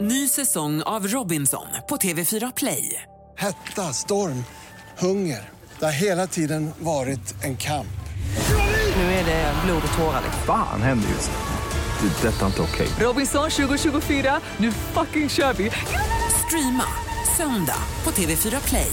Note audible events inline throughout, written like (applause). Ny säsong av Robinson på TV4 Play. Hetta, storm, hunger. Det har hela tiden varit en kamp. Nu är det blod och tårar. Fan händer just nu. Det. är Detta är inte okej. Robinson 2024, nu fucking kör vi! Streama söndag på TV4 Play.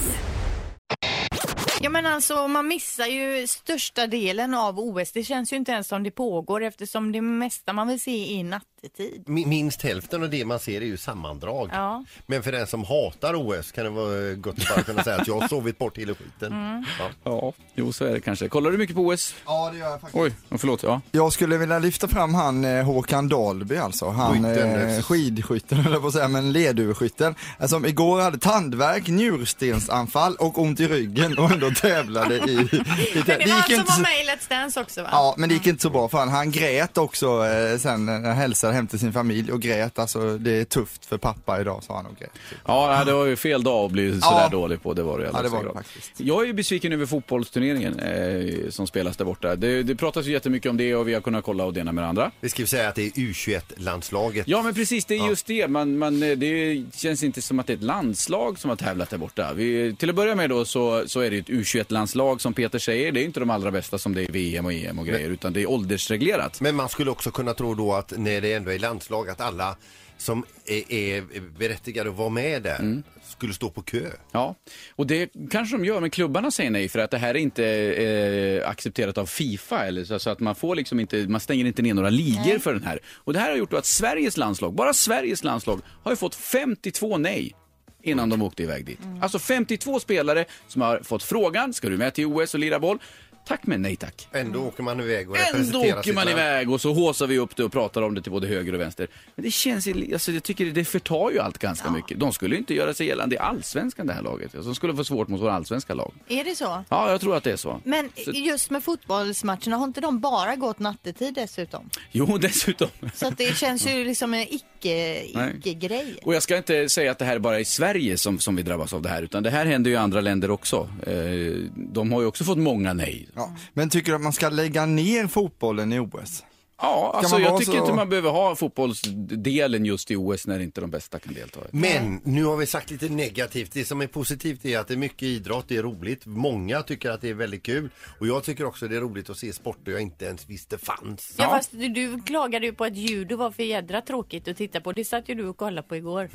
Ja men alltså man missar ju största delen av OS. Det känns ju inte ens som det pågår eftersom det mesta man vill se är nattetid. Mi- Minst hälften av det man ser är ju sammandrag. Ja. Men för den som hatar OS kan det vara eh, gott att bara kunna säga att jag har sovit bort hela skiten. Ja. Ja, jo så är det kanske. Kollar du mycket på OS? ja, det gör jag faktiskt. Oj, oh, förlåt. Ja. Jag skulle vilja lyfta fram han eh, Håkan Dalby alltså. Han Skytten, eh, precis. skidskytten (laughs) höll jag på att säga, men ledurskytten. eh, Som igår hade tandvärk, njurstensanfall och ont i ryggen och ändå tävlade i... (laughs) i Men det var han alltså som så- var med i Let's Dance också va? Ja, men det gick inte så bra för han. Han grät också eh, sen när han hälsade hem till sin familj och grät. Alltså det är tufft för pappa idag sa han och grät. Ja, nej, det var ju fel dag att bli sådär Ja. dålig på. Det var det, i allra Ja, det var högsta det grad. faktiskt. Jag är ju besviken över fotbollsturneringen eh, som spelas där borta. Det, det pratas ju jättemycket om det och vi har kunnat kolla och det ena med det andra. Vi ska ju säga att det är U21-landslaget. Ja, men precis. Det är just det. Man, man, eh, det känns inte som att det är ett landslag som har tävlat där borta. Vi, till att börja med då så, så är det ju ett U21-landslag som Peter säger. Det är inte de allra bästa som det är i VM och EM och grejer, utan det är åldersreglerat. Men man skulle också kunna tro då att när det ändå är landslag att alla som är, är berättigade att vara med där Mm. skulle stå på kö. Ja, och det kanske de gör, men klubbarna säger nej för att det här är inte eh, accepterat av Fifa. Eller, så, så att man, får liksom inte, man stänger inte ner några ligor för den här. Och det här har gjort då att Sveriges landslag, bara Sveriges landslag, har ju fått 52 nej innan de åkte iväg dit. Alltså 52 spelare som har fått frågan, ska du med till OS och lira boll? Tack men nej tack. Ändå åker man iväg och Ändå representerar åker sitt man land. iväg och så håsar vi upp det och pratar om det till både höger och vänster. Men det känns, ju- alltså jag tycker det förtar ju allt ganska mycket. De skulle ju inte göra sig gällande i allsvenskan det här laget. Alltså, de skulle få svårt mot våra allsvenska lag. Är det så? Ja, jag tror att det är så. Men så just med fotbollsmatcherna, har inte de bara gått nattetid dessutom? jo, (laughs) dessutom. Så att (laughs) det känns ju liksom en icke- Nej. icke-grej. Och jag ska inte säga att det här är bara i Sverige som, som vi drabbas av det här, utan det här händer ju i andra länder också. Eh, de har ju också fått många nej. Ja. Mm. Men tycker du att man ska lägga ner fotbollen i OS? Ja, alltså man jag vara tycker så- inte man behöver ha fotbollsdelen just i OS när inte de bästa kan delta. Men nu har vi sagt lite negativt. Det som är positivt är att det är mycket idrott, det är roligt. Många tycker att det är väldigt kul. Och jag tycker också det är roligt att se sporter jag inte ens visste fanns. Ja, fast du, du klagade ju på att judo var för jädra tråkigt att titta på. Det satt ju du och kollade på (laughs) igår.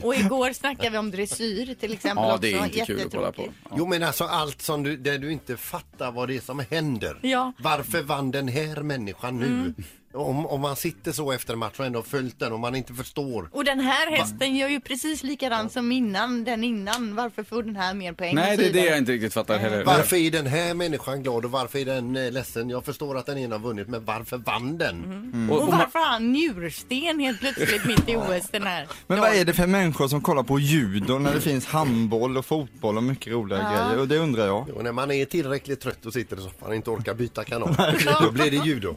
och igår snackade vi om dressyr till exempel Ja, också. det är inte kul att kolla på. Jättetråkigt. Jo men alltså allt som du, där du inte fattar vad det är som händer. Ja. Varför vann den här människan nu? Om, om man sitter så efter matchen och ändå har följt den och man inte förstår. Och den här hästen gör ju precis likadant som innan, den innan. Varför får den här mer poäng? Nej, och det så är det jag vidare? inte riktigt fattar heller. Varför är den här människan glad och varför är den eh, ledsen? Jag förstår att den ena har vunnit men varför vann den? Och varför har han njursten helt plötsligt mitt i OS den här? Men vad är det för människor som kollar på judo när det finns handboll och fotboll och mycket roliga grejer? Och det undrar jag. Och när man är tillräckligt trött och sitter i soffan och inte orkar byta kanal, då blir det judo.